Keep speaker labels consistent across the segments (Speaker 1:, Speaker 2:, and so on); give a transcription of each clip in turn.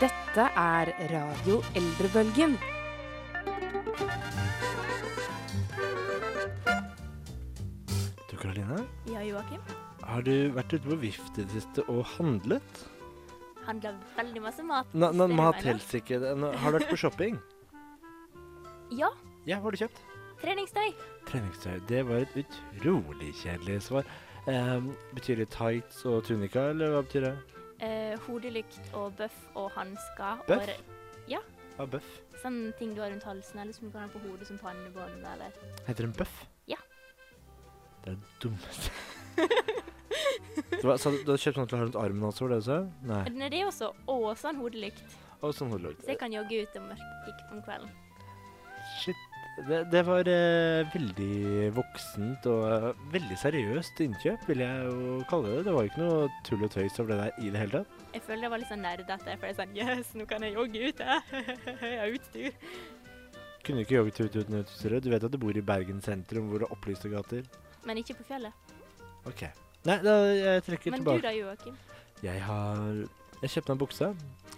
Speaker 1: Dette er Radio Eldrebølgen.
Speaker 2: Du Karoline,
Speaker 3: Ja, Joakim.
Speaker 2: har du vært ute på Vift i det siste og handlet?
Speaker 3: Handla veldig masse mat.
Speaker 2: Na, na,
Speaker 3: Spør du
Speaker 2: mat
Speaker 3: meg nå?
Speaker 2: helst ikke. det- nå- Har du vært på shopping?
Speaker 3: Ja,
Speaker 2: Ja, hva har du kjøpt?
Speaker 3: treningstøy.
Speaker 2: Treningstøy. Det var et utrolig kjedelig svar. Ehm, betyr det tights og tunika, eller hva betyr det?
Speaker 3: Eh, hodelykt og bøff og hansker. og
Speaker 2: Bøff?
Speaker 3: re-
Speaker 2: Hva er bøff?
Speaker 3: Sånne ting du har rundt halsen, eller som du kan ha på hodet som pannebånd. Eller.
Speaker 2: Heter den bøff?
Speaker 3: Ja.
Speaker 2: Det er det dummeste. Så hva- sa du, du har kjøpt sånn til å ha rundt armen også, var det du sa? Nei.
Speaker 3: Men det er også og sånn hodelykt,
Speaker 2: Og sånn hodelukt.
Speaker 3: så jeg kan jogge ut om, mørk- om kvelden.
Speaker 2: Shit. Det, det var eh, veldig voksent og eh, veldig seriøst innkjøp, vil jeg jo kalle det. Det var ikke noe tull og tøys over det der i det hele tatt.
Speaker 3: Jeg føler det var litt sånn nerdete, for jeg er sånn Yes, nå kan jeg jogge ute! jeg har utstyr.
Speaker 2: Kunne ikke jogget ut uten utstyret. Du vet at du bor i Bergen sentrum, hvor det er opplyste gater.
Speaker 3: Men ikke på fjellet.
Speaker 2: Ok. Nei, da, jeg trekker
Speaker 3: Men du
Speaker 2: tilbake.
Speaker 3: da, Joakim?
Speaker 2: Jeg har Jeg kjøpte meg en bukse.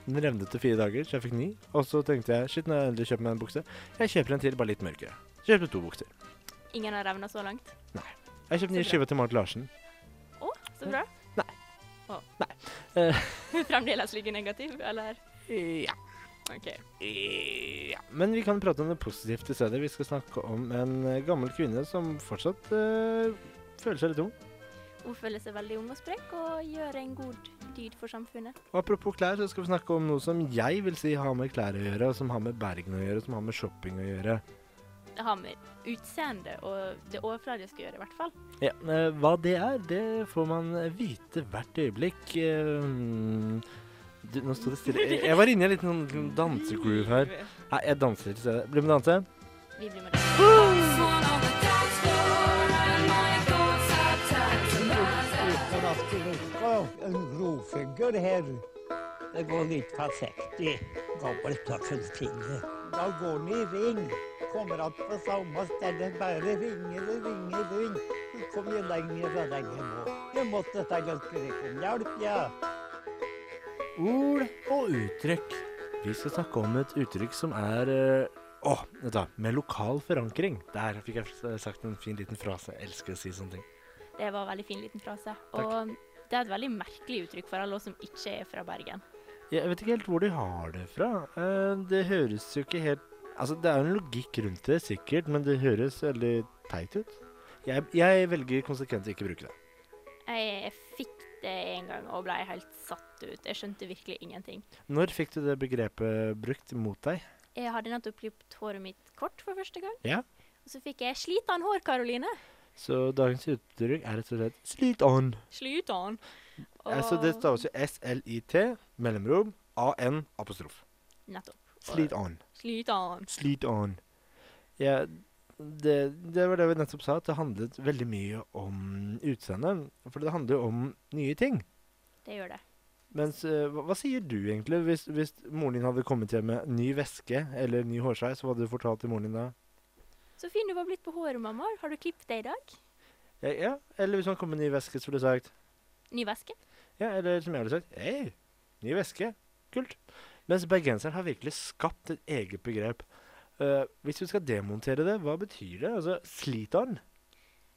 Speaker 2: Den revnet til fire dager, så jeg fikk ni. Og så tenkte jeg shit, nå har jeg endelig kjøpt meg en bukse. Jeg kjøper en til, bare litt mørkere. Så kjøpte jeg to bukser.
Speaker 3: Ingen har revna så langt?
Speaker 2: Jeg kjøpte
Speaker 3: Så
Speaker 2: nye
Speaker 3: bra.
Speaker 2: skiver til Marit Larsen.
Speaker 3: Å, så bra.
Speaker 2: Nei.
Speaker 3: Å.
Speaker 2: Eh.
Speaker 3: Fremdeles ligge negativ, eller?
Speaker 2: Ja.
Speaker 3: OK.
Speaker 2: Ja, men vi kan prate om det positivt i stedet. Vi skal snakke om en eh, gammel kvinne som fortsatt eh, føler seg litt ung.
Speaker 3: Hun føler seg veldig ung og sprek og gjør en god dyd for samfunnet.
Speaker 2: Og apropos klær, så skal vi snakke om noe som jeg vil si har med klær å gjøre, og som har med Bergen å gjøre, og som har med shopping å gjøre.
Speaker 3: Det har med utseende og det overfladiske å gjøre, i hvert fall.
Speaker 2: Ja, eh, Hva det er, det får man vite hvert øyeblikk. Eh, Du, nå sto det stille. Jeg- Jeg var inne i en liten sånn dansegroove her. Nei, jeg danser til stedet. Bli med og danse.
Speaker 3: Vi blir med det.
Speaker 4: En grofigur her. Det går litt perfekt i gammeldagsens ting. Da går den i ring. Kommer att på samme sted. Bare ringer og ringer og ringer. Du kommer jo lenger og lenger nå. Jeg måtte ta ganske riktig om hjelp, ja.
Speaker 2: Ord og uttrykk. Vi skal snakke om et uttrykk som er eh, Å, vent da. Med lokal forankring. Der fikk jeg s- sagt en fin liten frase. Jeg elsker å si sånne ting.
Speaker 3: Det var en veldig fin liten frase. Og det er et veldig merkelig uttrykk for alle oss som ikke er fra Bergen.
Speaker 2: Jeg vet ikke helt hvor de har det fra. Eh, Det høres jo ikke helt Altså, det er jo en logikk rundt det, sikkert, men det høres veldig teit ut. Jeg, jeg velger konsekvent å ikke bruke det.
Speaker 3: Jeg fikk det en gang og ble helt satt ut. Jeg skjønte virkelig ingenting.
Speaker 2: Når fikk du det begrepet brukt mot deg?
Speaker 3: Jeg hadde nettopp klippet håret mitt kort for første gang.
Speaker 2: Ja.
Speaker 3: Og så fikk jeg 'slit an hår', Karoline.
Speaker 2: Så dagens uttrykk er rett og slett 'slit on'.
Speaker 3: Slit an.
Speaker 2: Altså, det staves jo S-L-I-T, mellomrom, A-N, apostrof.
Speaker 3: Nettopp.
Speaker 2: Slit on.
Speaker 3: Slit an.
Speaker 2: Slit on. Ja, det, det var det vi nettopp sa, at det handlet veldig mye om utseendet. For det handler jo om nye ting.
Speaker 3: Det gjør det.
Speaker 2: Mens eh, hva, hva sier du egentlig? Hvis, hvis moren din hadde kommet hjem med ny veske eller ny hårsveis, hva hadde du fortalt til moren din da?
Speaker 3: Så fin du var blitt på håret, mamma. Har du klippet deg i dag?
Speaker 2: Ja, ja. Eller hvis hun kom med ny veske, så ville du sagt
Speaker 3: Ny væske?
Speaker 2: Ja, eller som jeg ville sagt Hei, ny veske. Kult. Mens bergenseren har virkelig skapt et eget begrep. Eh, hvis vi skal demontere det, hva betyr det? Altså, sliteren?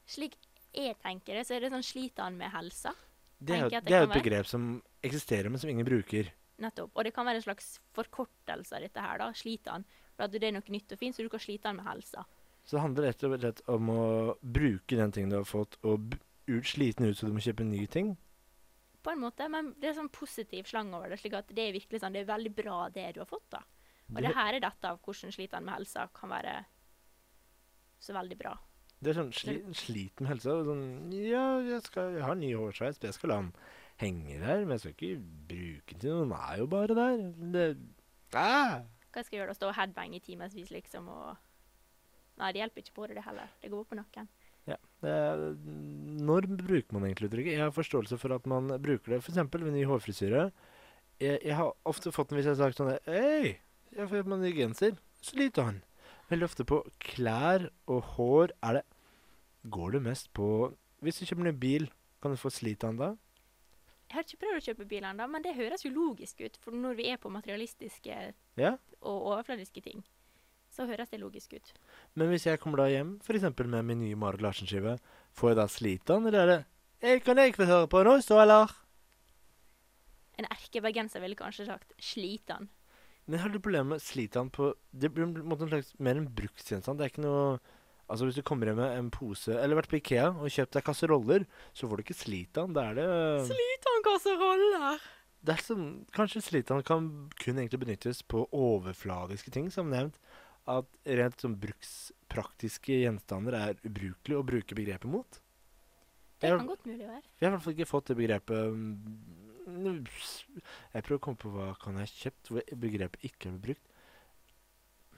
Speaker 3: Slik jeg tenker det, så er det sånn sliter han med helsa.
Speaker 2: Det er,
Speaker 3: Tenker
Speaker 2: jo-
Speaker 3: jeg at det
Speaker 2: det er jo
Speaker 3: kan
Speaker 2: et begrep som eksisterer, men som ingen bruker.
Speaker 3: Nettopp. Og det kan være en slags forkortelse av dette her, da. Sliter han. For at det er noe nytt og fint, så du kan slite han med helsa.
Speaker 2: Så det handler rett og slett om å bruke den tingen du har fått, og b- ut, slite den ut så du må kjøpe en ny ting.
Speaker 3: På en måte, men det er sånn positiv slang over det. slik at det er virkelig sånn, det er veldig bra det du har fått, da. Og det her er dette av hvordan sliter han med helsa kan være så veldig bra.
Speaker 2: Det er sånn sli, slit med helsa. og Sånn, ja, jeg, skal, jeg har ny hårsveis, men jeg skal la den henge der. Men jeg skal ikke bruke den til noe. Den er jo bare der. Det, ah!
Speaker 3: Hva skal jeg gjøre da? Stå og headbang i timevis, liksom, og Nei, det hjelper ikke på det, det heller. Det går på nakken.
Speaker 2: Det er, når bruker man egentlig uttrykket? Jeg har forståelse for at man bruker det f.eks. ved ny hårfrisyre. Jeg, jeg har ofte fått den hvis jeg har sagt sånn Hei, jeg har fått meg ny genser. Så lite han. Veldig ofte på klær og hår er det Går det mest på Hvis du kjøper ny bil, kan du få slit han da?
Speaker 3: Jeg har ikke prøvd å kjøpe bil ennå, men det høres jo logisk ut. For når vi er på materialistiske
Speaker 2: Ja.
Speaker 3: og overfladiske ting, så høres det logisk ut.
Speaker 2: Men hvis jeg kommer da hjem, f.eks. med min nye Marit Larsen-skive, får jeg da slite den, eller er det jeg kan jeg få høre på nå, så, eller?
Speaker 3: En erkebergenser ville kanskje sagt 'slitan'.
Speaker 2: Men har du problemer med sliter han på Det blir på en måte en slags mer en bruksgjenstand. Det er ikke noe Altså Hvis du kommer hjem med en pose Eller vært på Ikea og kjøpt deg kasseroller, så får du ikke slitan. Da er det
Speaker 3: Slitan-kasseroller!
Speaker 2: det er som, Kanskje slitan kan kun egentlig benyttes på overfladiske ting, som nevnt. At rent sånn brukspraktiske gjenstander er ubrukelig å bruke begrepet mot.
Speaker 3: Det
Speaker 2: Jeg-
Speaker 3: kan godt mulig være.
Speaker 2: Vi har i hvert fall ikke fått det begrepet mm, s- Jeg prøver å komme på hva kan jeg ha kjøpt hvor begrepet ikke er brukt.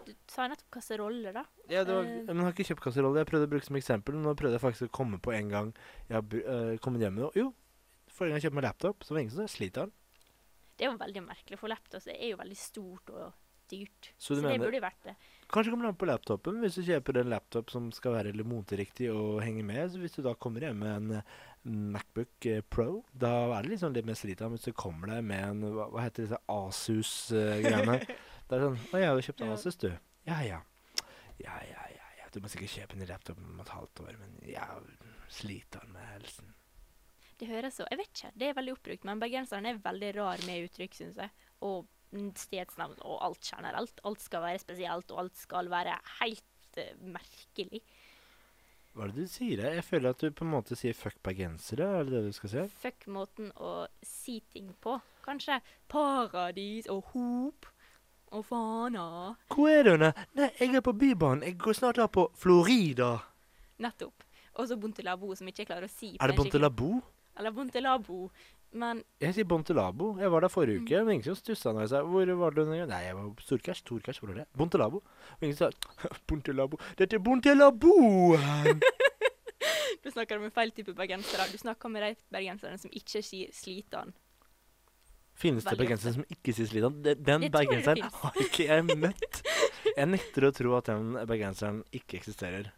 Speaker 3: Du sa jo nettopp kasseroller, da.
Speaker 2: Ja, det var,
Speaker 3: Eh.
Speaker 2: men jeg har ikke kjøpt kasserolle. Jeg prøvde å bruke som eksempel, men nå prøvde jeg faktisk å komme på en gang jeg har br- eh, kommet hjem med noe. Jo, forrige gang jeg kjøpte meg laptop, så var det ingen som sliter den.
Speaker 3: Det er jo veldig merkelig, for laptops er jo veldig stort og dyrt.
Speaker 2: Så du
Speaker 3: det
Speaker 2: mener
Speaker 3: burde jo vært det.
Speaker 2: Kanskje kommer det an på laptopen. Hvis du kjøper en laptop som skal være litt moteriktig og henge med, så hvis du da kommer hjem med en eh, Macbook eh, Pro, da er det liksom litt mer slit av hvis du kommer deg med en Hva, hva heter disse Asus-greiene? det er sånn Å ja, du kjøpte
Speaker 3: Ja.
Speaker 2: Asus, du. Ja ja. Ja ja ja. ja. Du må sikkert kjøpe en laptop om et halvt år, men ja, sliter han med helsen.
Speaker 3: Det høres så Jeg vet ikke, det er veldig oppbrukt, men bergenseren er veldig rar med uttrykk, syns jeg. Og mm, stedsnavn og alt generelt. Alt skal være spesielt, og alt skal være helt eh, merkelig.
Speaker 2: Hva er det du sier? Jeg føler at du på en måte sier fuck bergensere, er det det du skal si?
Speaker 3: Fuck måten å si ting på, kanskje. Paradis og hop og fana.
Speaker 2: Hvor er du? Anne? Nei, jeg er på Bybanen. Jeg går snart av på Florida.
Speaker 3: Nettopp. Og så Bontelabo, som ikke jeg klarer å si. på
Speaker 2: Er det
Speaker 3: en skikkelig-
Speaker 2: Bontelabo?
Speaker 3: Eller Bontelabo. Men
Speaker 2: Jeg sier Bontelabo. Jeg var der
Speaker 3: Mm.
Speaker 2: forrige uke, men ingen som stussa når jeg sa Hvor var du? Nei, jeg var på Storkers. Torkers, hvor var det? Bontelabo. Og ingen sa Bontelabo. Dette er Bontelabo!
Speaker 3: du snakker om en feil type bergensere. Du snakker med de bergenserne som ikke sier 'slitan'.
Speaker 2: Finnes det
Speaker 3: Veldig
Speaker 2: bergensere som ikke sier slitan? De- Den
Speaker 3: Jeg tror det
Speaker 2: bergenseren
Speaker 3: finnes.
Speaker 2: har ikke jeg møtt. Jeg nekter å tro at den bergenseren ikke eksisterer.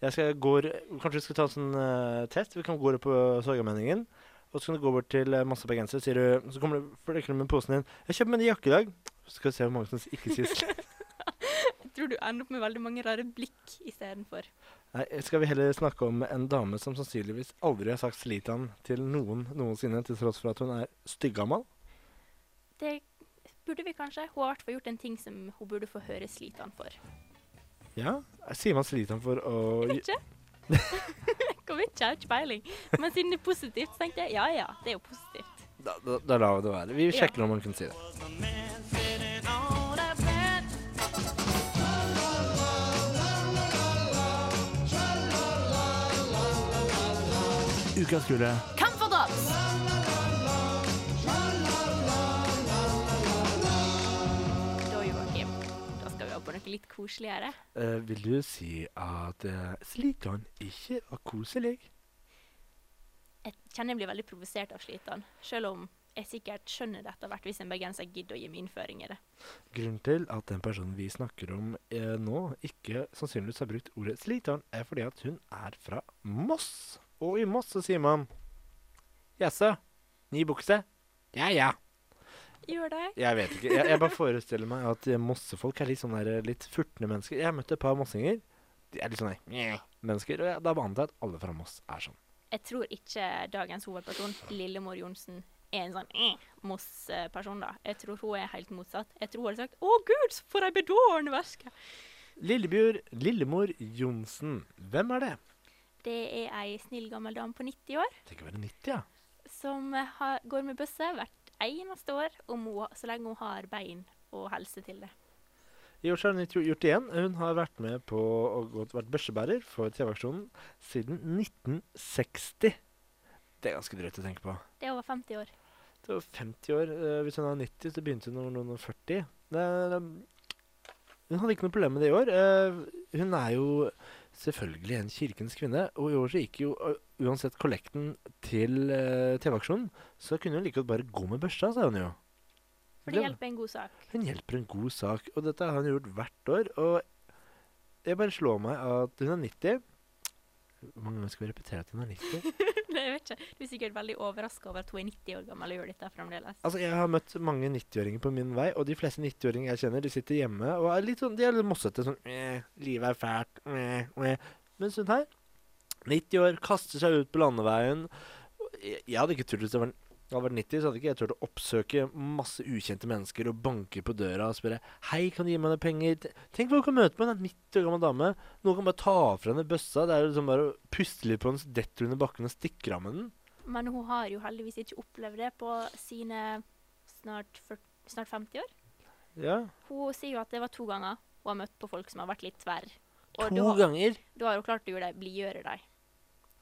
Speaker 2: Jeg skal gå, kanskje vi skal ta en sånn eh, test. Vi kan gå på Sorgameningen. Og så kan du gå bort til eh, masse bergensere, sier du, så kommer du, flekker du med posen din. 'Jeg kjøper meg en jakke i dag.' Så skal vi se hvor mange som ikke sier slitan.
Speaker 3: Jeg tror du ender opp med veldig mange rare blikk istedenfor.
Speaker 2: Nei, skal vi heller snakke om en dame som sannsynligvis aldri har sagt slitan til noen noensinne, til tross for at hun er styggammal?
Speaker 3: Det burde vi kanskje. Hun har i hvert fall gjort en ting som hun burde få høre slitene for.
Speaker 2: Ja? Sier man slitan for å
Speaker 3: Jeg vet ikke. Jeg Kom ikke, jeg har ikke peiling. Men siden det er positivt, så tenkte jeg ja ja, det er jo positivt.
Speaker 2: Da, da, da lar vi det være. Vi sjekker om han kunne si det. Ukas kule.
Speaker 5: Kampferdals!
Speaker 3: Da, Joakim, da skal vi over på noe litt koseligere.
Speaker 2: Eh, vil du si at eh, slitan ikke var koselig?
Speaker 3: Jeg kjenner jeg blir veldig provosert av slitene, selv om jeg sikkert skjønner det etter hvert hvis en bergenser gidder å gi meg innføring i det.
Speaker 2: Grunnen til at den personen vi snakker om eh, nå, ikke sannsynligvis har brukt ordet slitan, er fordi at hun er fra Moss. Og i Moss så sier man Jaså? Ny bukse? Ja ja.
Speaker 3: Gjør det?
Speaker 2: Jeg vet ikke. Jeg, jeg bare forestiller meg at eh, mossefolk er litt sånn der, eh, litt furtne mennesker. Jeg har møtt et par mossinger. De er litt sånn der «Mjau» mennesker. Og jeg, da antar jeg at alle fra Moss er sånn.
Speaker 3: Jeg tror ikke dagens hovedperson, Lillemor Johnsen, er en sånn eh, Moss-person, da. Jeg tror hun er helt motsatt. Jeg tror hun hadde sagt 'Å gud, for ei bedårende væske'.
Speaker 2: Lillebjørn Lillemor Johnsen. Hvem er det?
Speaker 3: Det er ei snill gammel dame på 90 år
Speaker 2: Tenk å være 90, ja.
Speaker 3: som eh, har, går med bøsse hvert eneste år, om hun, så lenge hun har bein og helse til det.
Speaker 2: I år så har hun gjort gjort det igjen. Hun har vært med på og gått, vært børsebærer for TV-aksjonen siden 1960. Det er ganske drøyt å tenke på.
Speaker 3: Det er over 50 år.
Speaker 2: Det var 50 år. eh, hvis hun var 90, så begynte hun når hun var 40. Det, er, um, hun hadde ikke noe problem med det i år. Eh, hun er jo selvfølgelig en kirkens kvinne, og i år så gikk jo eh, uansett kollekten til eh, TV-aksjonen, så kunne hun like godt bare gå med børsa, sa hun jo.
Speaker 3: For det
Speaker 2: Det-
Speaker 3: hjelper en god sak.
Speaker 2: hun hjelper en god sak, og dette har hun gjort hvert år. Og jeg bare slår meg at hun er 90. Hvor mange ganger skal vi repetere at hun er 90?
Speaker 3: Det jeg vet ikke. Du er sikkert veldig overraska over at hun er 90 år gammel og gjør dette fremdeles.
Speaker 2: Altså, Jeg har møtt mange 90-åringer på min vei, og de fleste 90-åringer jeg kjenner, de sitter hjemme og er litt sånn, de er litt mossete. Sånn eh, 'Livet er fælt', eh, eh. Mens hun her, 90 år, kaster seg ut på landeveien. Og Jeg, jeg hadde ikke turt hvis jeg var, hadde vært 90, så hadde ikke jeg turt å oppsøke masse ukjente mennesker og banke på døra og spørre 'Hei, kan du gi meg noen penger?' Tenk hva du kan møte med en 90 år gammel dame. Noen kan bare ta fra henne bøssa. Det er liksom bare å puste litt på henne, så detter hun under bakken og stikker av med den.
Speaker 3: Men hun har jo heldigvis ikke opplevd det på sine snart, 40, snart 50 år.
Speaker 2: Ja.
Speaker 3: Hun sier jo at det var to ganger hun har møtt på folk som har vært litt tverr. Og
Speaker 2: To
Speaker 3: da,
Speaker 2: ganger.
Speaker 3: da har hun klart å gjøre dem, blidgjøre dem.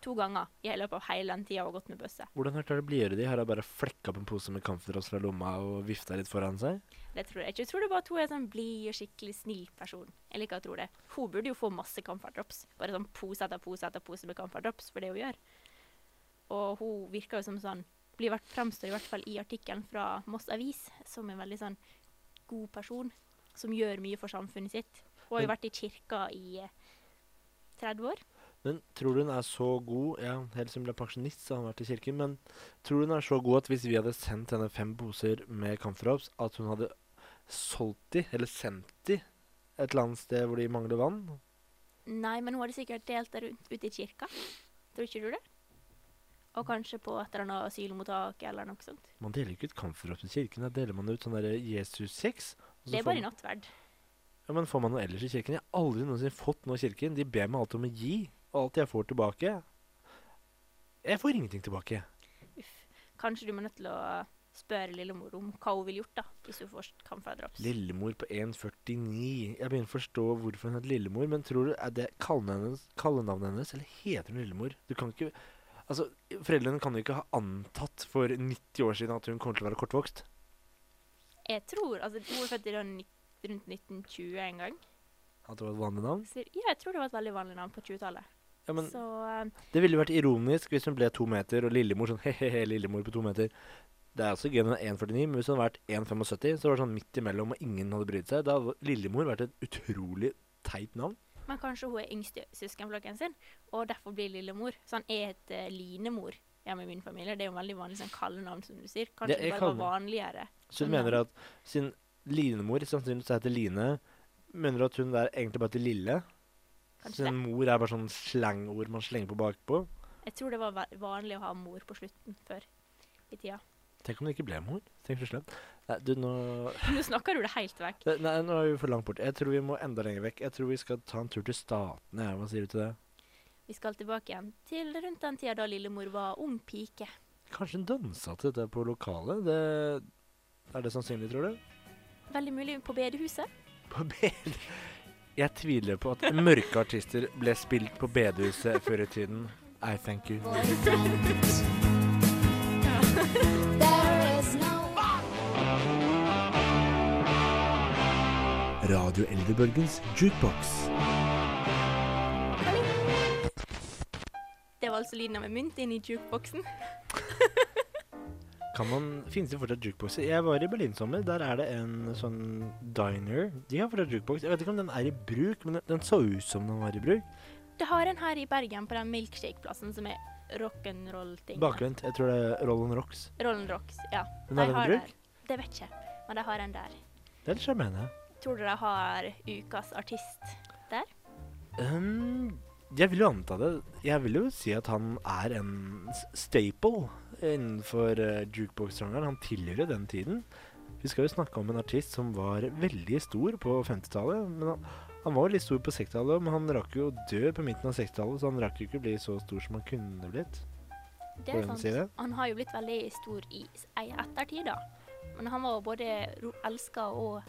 Speaker 3: To ganger i løpet av hele den tida hun har gått med bøsse.
Speaker 2: Hvordan har dere blidgjøre de? Har jeg bare flekka opp en pose med Kampfdrops fra lomma og vifta litt foran seg?
Speaker 3: Det tror jeg ikke. Jeg tror det er bare at hun er en sånn blid og skikkelig snill person. Jeg liker å tro det. Hun burde jo få masse Camphordrops. Bare sånn pose etter pose etter pose med Camphordrops for det hun gjør. Og hun virker jo som sånn blir vært, Fremstår i hvert fall i artikkelen fra Moss Avis som en veldig sånn god person som gjør mye for samfunnet sitt. Hun har jo
Speaker 2: Men-
Speaker 3: vært i kirka i eh, 30 år.
Speaker 2: Men tror du hun er så god Ja, helt siden hun ble pensjonist, så har hun vært i kirken. Men tror du hun er så god at hvis vi hadde sendt henne fem poser med Kampfdrops, at hun hadde solgt de, eller sendt de, et eller annet sted hvor de mangler vann?
Speaker 3: Nei, men hun hadde sikkert delt det rundt ute i kirka. Tror ikke du det? Og kanskje på et eller annet asylmottak eller noe sånt.
Speaker 2: Man deler jo ikke ut Kampfdrops i kirken. Da deler man ut sånn derre Jesus-sex. og så
Speaker 3: Det
Speaker 2: får
Speaker 3: er bare
Speaker 2: man-
Speaker 3: i nattverd.
Speaker 2: Ja, men får man noe ellers i kirken? Jeg har aldri noensinne fått noe i kirken. De ber meg alltid om å gi, og alt jeg får tilbake Jeg får ingenting tilbake.
Speaker 3: Kanskje du må nødt til å spørre lillemor om hva hun ville gjort da, hvis hun får kamferdrops.
Speaker 2: Lillemor på 1,49. Jeg begynner å forstå hvorfor hun heter Lillemor, men tror du er det kallenavnet hennes, kallenavnet hennes eller heter hun Lillemor? Du kan ikke Altså, Foreldrene kan jo ikke ha antatt for 90 år siden at hun kommer til å være kortvokst.
Speaker 3: Jeg tror, altså Hun er født i den ni- rundt 1920 en gang.
Speaker 2: At det var et vanlig navn.
Speaker 3: Så, ja, jeg tror det var et veldig vanlig navn på 20-tallet.
Speaker 2: Ja, men
Speaker 3: Så eh,
Speaker 2: Det ville jo vært ironisk hvis hun ble to meter, og Lillemor sånn he-he-he, Lillemor på to meter. Det er altså også gøy når hun er 1,49, men hvis hun hadde vært 1,75, så var det sånn midt imellom, og ingen hadde brydd seg. Da hadde Lillemor vært et utrolig teit navn.
Speaker 3: Men kanskje hun er yngst i søskenflokken sin, og derfor blir lillemor. Sånn, jeg heter Linemor hjemme i min familie. Det er jo veldig vanlig sånn kallenavn, som du sier. Kanskje
Speaker 2: Det-
Speaker 3: det
Speaker 2: jeg
Speaker 3: bare var vanligere.
Speaker 2: Så hun
Speaker 3: Sånn
Speaker 2: mener at sin Linemor sannsynligvis heter Line, mener at hun er egentlig bare til Lille.
Speaker 3: Kanskje
Speaker 2: Sin mor er bare sånn slangord man slenger på bakpå.
Speaker 3: Jeg tror det var va- vanlig å ha mor på slutten før i tida.
Speaker 2: Tenk om det ikke ble mor. Tenk så slemt. Nei, du, nå
Speaker 3: Nå snakker du det helt vekk.
Speaker 2: Nei, nå er vi for langt bort. Jeg tror vi må enda lenger vekk. Jeg tror vi skal ta en tur til Statene. Hva sier du til det?
Speaker 3: Vi skal tilbake igjen til rundt den tida da lillemor var ung pike.
Speaker 2: Kanskje hun dansa til dette på lokalet? Det er det sannsynlig, tror du?
Speaker 3: Veldig mulig på bedehuset.
Speaker 2: På bed... Jeg tviler på at mørke artister ble spilt på bedehuset før i tiden. I thank you. Radio Eldrebølgens jukebox.
Speaker 3: Det var altså lyden av en mynt inni jukeboksen.
Speaker 2: Kan man, Finnes det fortsatt jukeboxer? Jeg var i Berlin sommer. Der er det en sånn diner. De har fortsatt jukebox. Jeg vet ikke om den er i bruk, men den, den så ut som den var i bruk.
Speaker 3: Det har en her i Bergen på den milkshake-plassen som er rock'n'roll-ting.
Speaker 2: Bakvendt. Jeg tror det er Roll on Rocks.
Speaker 3: Rock'n'rolls, ja.
Speaker 2: Den er den
Speaker 3: De
Speaker 2: i
Speaker 3: har
Speaker 2: bruk?
Speaker 3: der. Det vet jeg ikke, men de har en der.
Speaker 2: Det er litt sjarmerende.
Speaker 3: Tror du de har ukas artist der?
Speaker 2: Ehm, jeg vil jo anta det. Jeg vil jo si at han er en s- staple innenfor eh, jukebox-sjangeren. Han tilhører den tiden. Vi skal jo snakke om en artist som var veldig stor på 50-tallet. Men han, han var jo litt stor på 60-tallet, men han rakk jo å dø på midten av 60-tallet, så han rakk jo ikke å bli så stor som han kunne blitt.
Speaker 3: Det sånn-
Speaker 2: Hvordan sier det?
Speaker 3: Han har jo blitt veldig stor i s- ei ettertid, da. Men han var jo både ro- elska og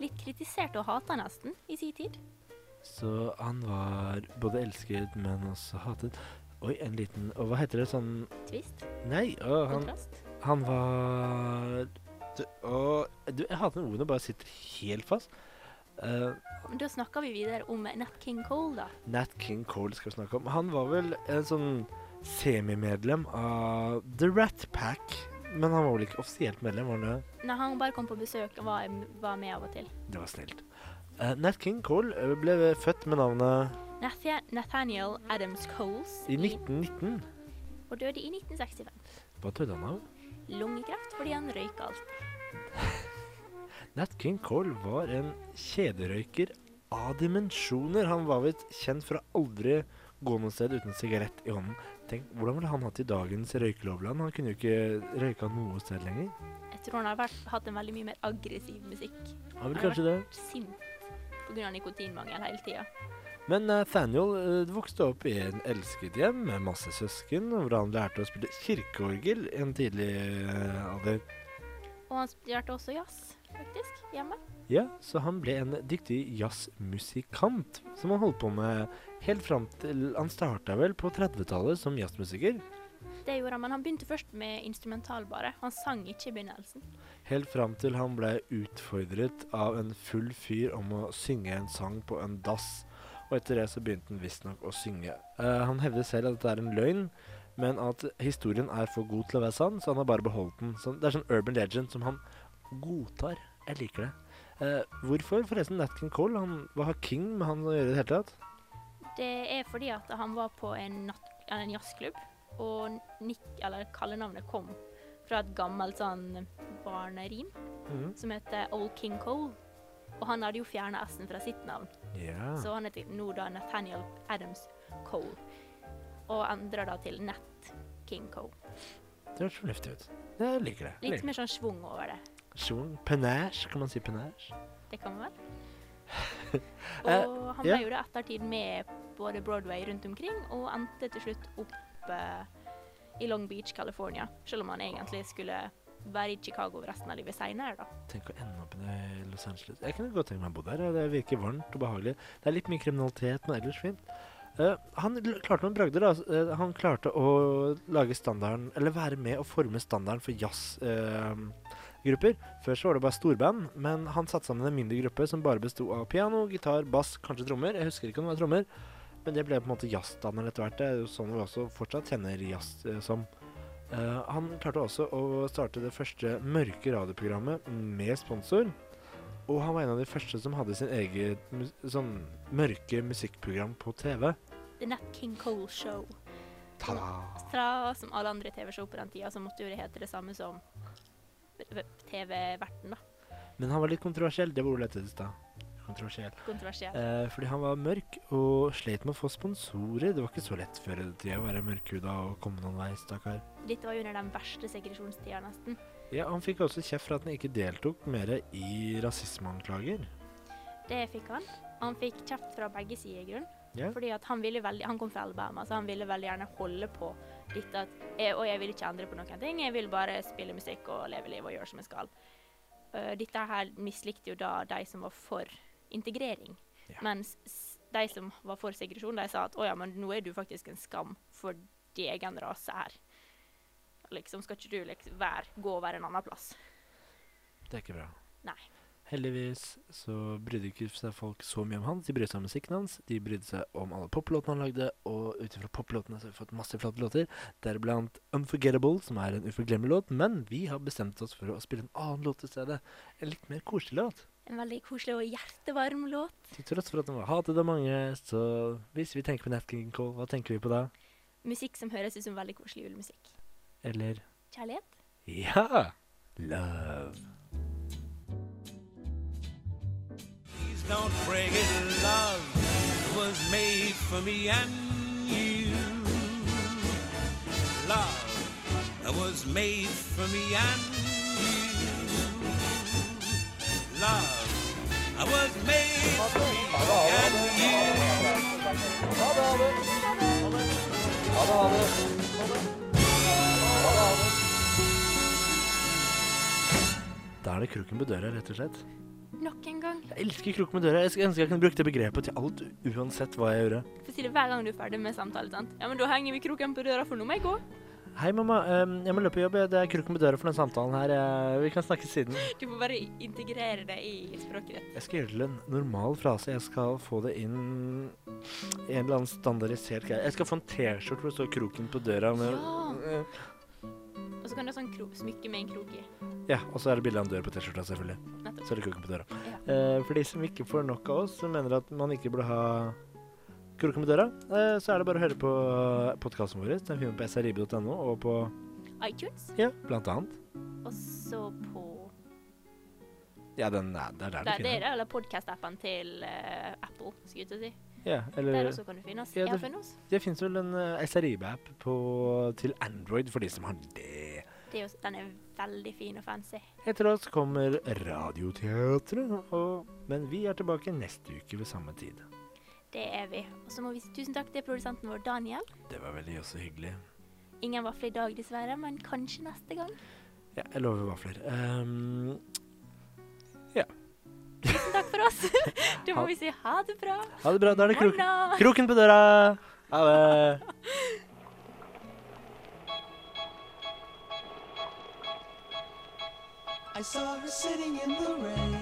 Speaker 3: litt kritisert og hata nesten i sin tid.
Speaker 2: Så han var både elsket, men også hatet. Oi, en liten Og hva heter det sånn
Speaker 3: Twist.
Speaker 2: Nei, å, han
Speaker 3: Kontrast.
Speaker 2: Han var du, å, du, Jeg hater når ordene bare sitter helt fast. Eh,
Speaker 3: Men Da snakker vi videre om Nat King Cole, da.
Speaker 2: Nat King Cole skal vi snakke om. Han var vel en sånn semimedlem av The Rat Pack. Men han var vel ikke offisielt medlem? var han det?
Speaker 3: Nei, han bare kom på besøk og var, var med av og til.
Speaker 2: Det var snilt. Eh, Nat King Cole eh, ble født med navnet
Speaker 3: Nathia- Nathaniel Adams Coles
Speaker 2: i 1919.
Speaker 3: og døde i 1965.
Speaker 2: Hva døde han av?
Speaker 3: Lungekreft fordi han røyka alt.
Speaker 2: Nat King Cole var en kjederøyker av dimensjoner. Han var visst kjent for å aldri gå noe sted uten sigarett i hånden. Tenk, Hvordan ville han hatt i dagens røykelovland? Han kunne jo ikke røyka noe sted lenger.
Speaker 3: Jeg tror han har vært, hatt en veldig mye mer aggressiv musikk.
Speaker 2: Han ville
Speaker 3: Nei,
Speaker 2: kanskje det.
Speaker 3: Sint pga. nikotinmangel hele tida.
Speaker 2: Men Nathaniel eh, vokste opp i en elsket hjem med masse søsken, hvor han lærte å spille kirkeorgel i en tidlig eh, alder.
Speaker 3: Og han studerte også jazz, faktisk, hjemme.
Speaker 2: Ja, så han ble en dyktig jazzmusikant, som han holdt på med helt fram til Han starta vel på 30-tallet som jazzmusiker.
Speaker 3: Det gjorde han, Men han begynte først med instrumental, bare. Han sang ikke i begynnelsen.
Speaker 2: Helt fram til han ble utfordret av en full fyr om å synge en sang på en dass. Og etter det så begynte han visstnok å synge. Eh, han hevder selv at dette er en løgn, men at historien er for god til å være sann, så han har bare beholdt den. Så det er sånn urban legend som han godtar. Jeg liker det. Eh, hvorfor forresten Nat King Cole? Han, hva har King med han å gjøre i det hele tatt?
Speaker 3: Det er fordi at han var på en, natt, eller en jazzklubb, og Nick, eller kallenavnet kom fra et gammelt sånn barnerim
Speaker 2: Mhm.
Speaker 3: som heter Old King Cole. Og han hadde jo fjerna S-en fra sitt navn,
Speaker 2: Ja.
Speaker 3: så han heter nå da Nathaniel Adams Cole. Og endra da til Nat King Cole.
Speaker 2: Det høres fornuftig ut. Jeg liker det. Jeg
Speaker 3: Litt
Speaker 2: liker det.
Speaker 3: mer sånn schwung over det.
Speaker 2: Sjung. Penasje, kan man si penasje?
Speaker 3: Det kan man vel?
Speaker 2: Eh,
Speaker 3: Og han
Speaker 2: ja.
Speaker 3: ble jo da ettertid med både Broadway rundt omkring, og endte til slutt opp eh, i Long Beach, California. Selv om han egentlig skulle være i Chicago resten av livet seinere, da.
Speaker 2: Tenk å ende opp i det- Los Angeles. Jeg kunne godt tenke meg å bo der. ja. Det virker varmt og behagelig. Det er litt mye kriminalitet, men ellers fint. Eh, han l- klarte noen bragder. da. S- eh, han klarte å lage standarden, eller være med og forme standarden for jazzgrupper. Før så var det bare storband, men han satte sammen en mindre gruppe som bare besto av piano, gitar, bass, kanskje trommer. Jeg husker ikke om det var trommer, men det ble på en måte jazzstandarden etter hvert. Det er jo sånn vi også fortsatt kjenner jazz eh, som. Eh, han klarte også å starte det første mørke radioprogrammet med sponsor. Og han var en av de første som hadde sin eget mus sånn mørke musikkprogram på TV.
Speaker 3: The Nat King Cole Show.
Speaker 2: Ta-da!
Speaker 3: Stra, som alle andre TV-show på den tida, så måtte jo det hete det samme som TV-verten, da.
Speaker 2: Men han var litt kontroversiell. Det var ordet jeg lette etter i stad. Kontroversiell.
Speaker 3: Kontroversiell.
Speaker 2: Eh, fordi han var mørk og slet med å få sponsorer. Det var ikke så lett før i tida å være mørkhuda og komme noen vei, stakkar.
Speaker 3: Dette var jo under den verste segresjonstida, nesten.
Speaker 2: Ja, han fikk også kjeft for at han ikke deltok mer i rasismeanklager.
Speaker 3: Det fikk han. Han fikk kjeft fra begge sider, i grunn.
Speaker 2: Ja.
Speaker 3: Fordi at han, ville veldig, han kom fra Alabama, så han ville veldig gjerne holde på dette at jeg, Og jeg vil ikke endre på noen ting, jeg vil bare spille musikk og leve livet og gjøre som jeg skal. Eh, dette her mislikte jo da de som var for integrering.
Speaker 2: Ja.
Speaker 3: Mens s- de som var for segresjon, de sa at å ja, men nå er du faktisk en skam for din egen rase her. Liksom, skal ikke du liksom være, gå og være en annen plass?
Speaker 2: Det er ikke bra.
Speaker 3: Nei.
Speaker 2: Heldigvis så brydde ikke seg folk så mye om han. De brydde seg om musikken hans, de brydde seg om alle poplåtene han lagde, og ut ifra poplåtene så har vi fått masse flotte låter, deriblant Unforgettable, som er en uforglemmelig låt, men vi har bestemt oss for å spille en annen låt i stedet. En litt mer koselig låt.
Speaker 3: En veldig koselig og hjertevarm låt.
Speaker 2: Til tross for at den var hatet av mange, så hvis vi tenker på Nat King Cole, hva tenker vi på da?
Speaker 3: Musikk som høres ut som veldig koselig julemusikk.
Speaker 2: Eller
Speaker 3: Kjærlighet?
Speaker 2: Ja! Love.
Speaker 5: Please don't break it, love. It was made for me and you. Love that was made for me and you. Love I was made for me and you.
Speaker 2: Da er det kroken på døra, rett og slett.
Speaker 3: Nok en gang.
Speaker 2: Jeg elsker kroken på døra. Jeg skulle ønske jeg kunne brukt det begrepet til alt, uansett hva jeg gjorde.
Speaker 3: For si det hver gang du er ferdig med samtalen, sant? Ja, men da henger vi kroken på døra, for nå må jeg gå.
Speaker 2: Hei, mamma. Ehm, Jeg må løpe på jobb. Det er krukken på døra for den samtalen her. Eh, Vi kan snakkes siden.
Speaker 3: Du får bare integrere det i språket ditt.
Speaker 2: Jeg skal gjøre det til en normal frase. Jeg skal få det inn i en eller annen standardisert greie. Jeg skal få en T-skjorte hvor det står 'Kroken på døra' med
Speaker 3: Ja. Og så kan du ha sånn kro smykke med en krok i.
Speaker 2: Ja, og så er det bilde av en dør på T-skjorta, selvfølgelig.
Speaker 3: Nettopp.
Speaker 2: Så er det krukken på døra. Eh, For de som ikke får nok av oss, som mener at man ikke burde ha kroken med døra, eh, så er det bare å høre på podkasten vår. Den finner du på sribe.no og på
Speaker 3: iTunes,
Speaker 2: ja, blant annet.
Speaker 3: og så på
Speaker 2: Ja, den er, det er der du
Speaker 3: Der, det er
Speaker 2: finner den.
Speaker 3: det, eller podkast-appen til eh, Apple, skulle jeg til å si.
Speaker 2: Ja,
Speaker 3: Der
Speaker 2: eller
Speaker 3: også kan du finne oss.
Speaker 2: Ja,
Speaker 3: Jeg har
Speaker 2: det-
Speaker 3: funnet oss.
Speaker 2: Det fins vel en eh, SRIB-app på- til Android for de som har det.
Speaker 3: Det er jo, den er veldig fin og fancy.
Speaker 2: Etter oss kommer Radioteatret, og, men vi er tilbake neste uke ved samme tid.
Speaker 3: Det er vi. Og så må vi si tusen takk til produsenten vår, Daniel.
Speaker 2: Det var veldig også hyggelig.
Speaker 3: Ingen vafler i dag, dessverre, men kanskje neste gang.
Speaker 2: Ja, jeg lover vafler. Ehm,
Speaker 3: Tusen takk for oss. Da
Speaker 2: Ha-
Speaker 3: må vi si ha det bra.
Speaker 2: ha det bra. Da er det kroken,
Speaker 3: Morna.
Speaker 2: kroken på døra! Ha det!
Speaker 6: I saw her sitting in the rain.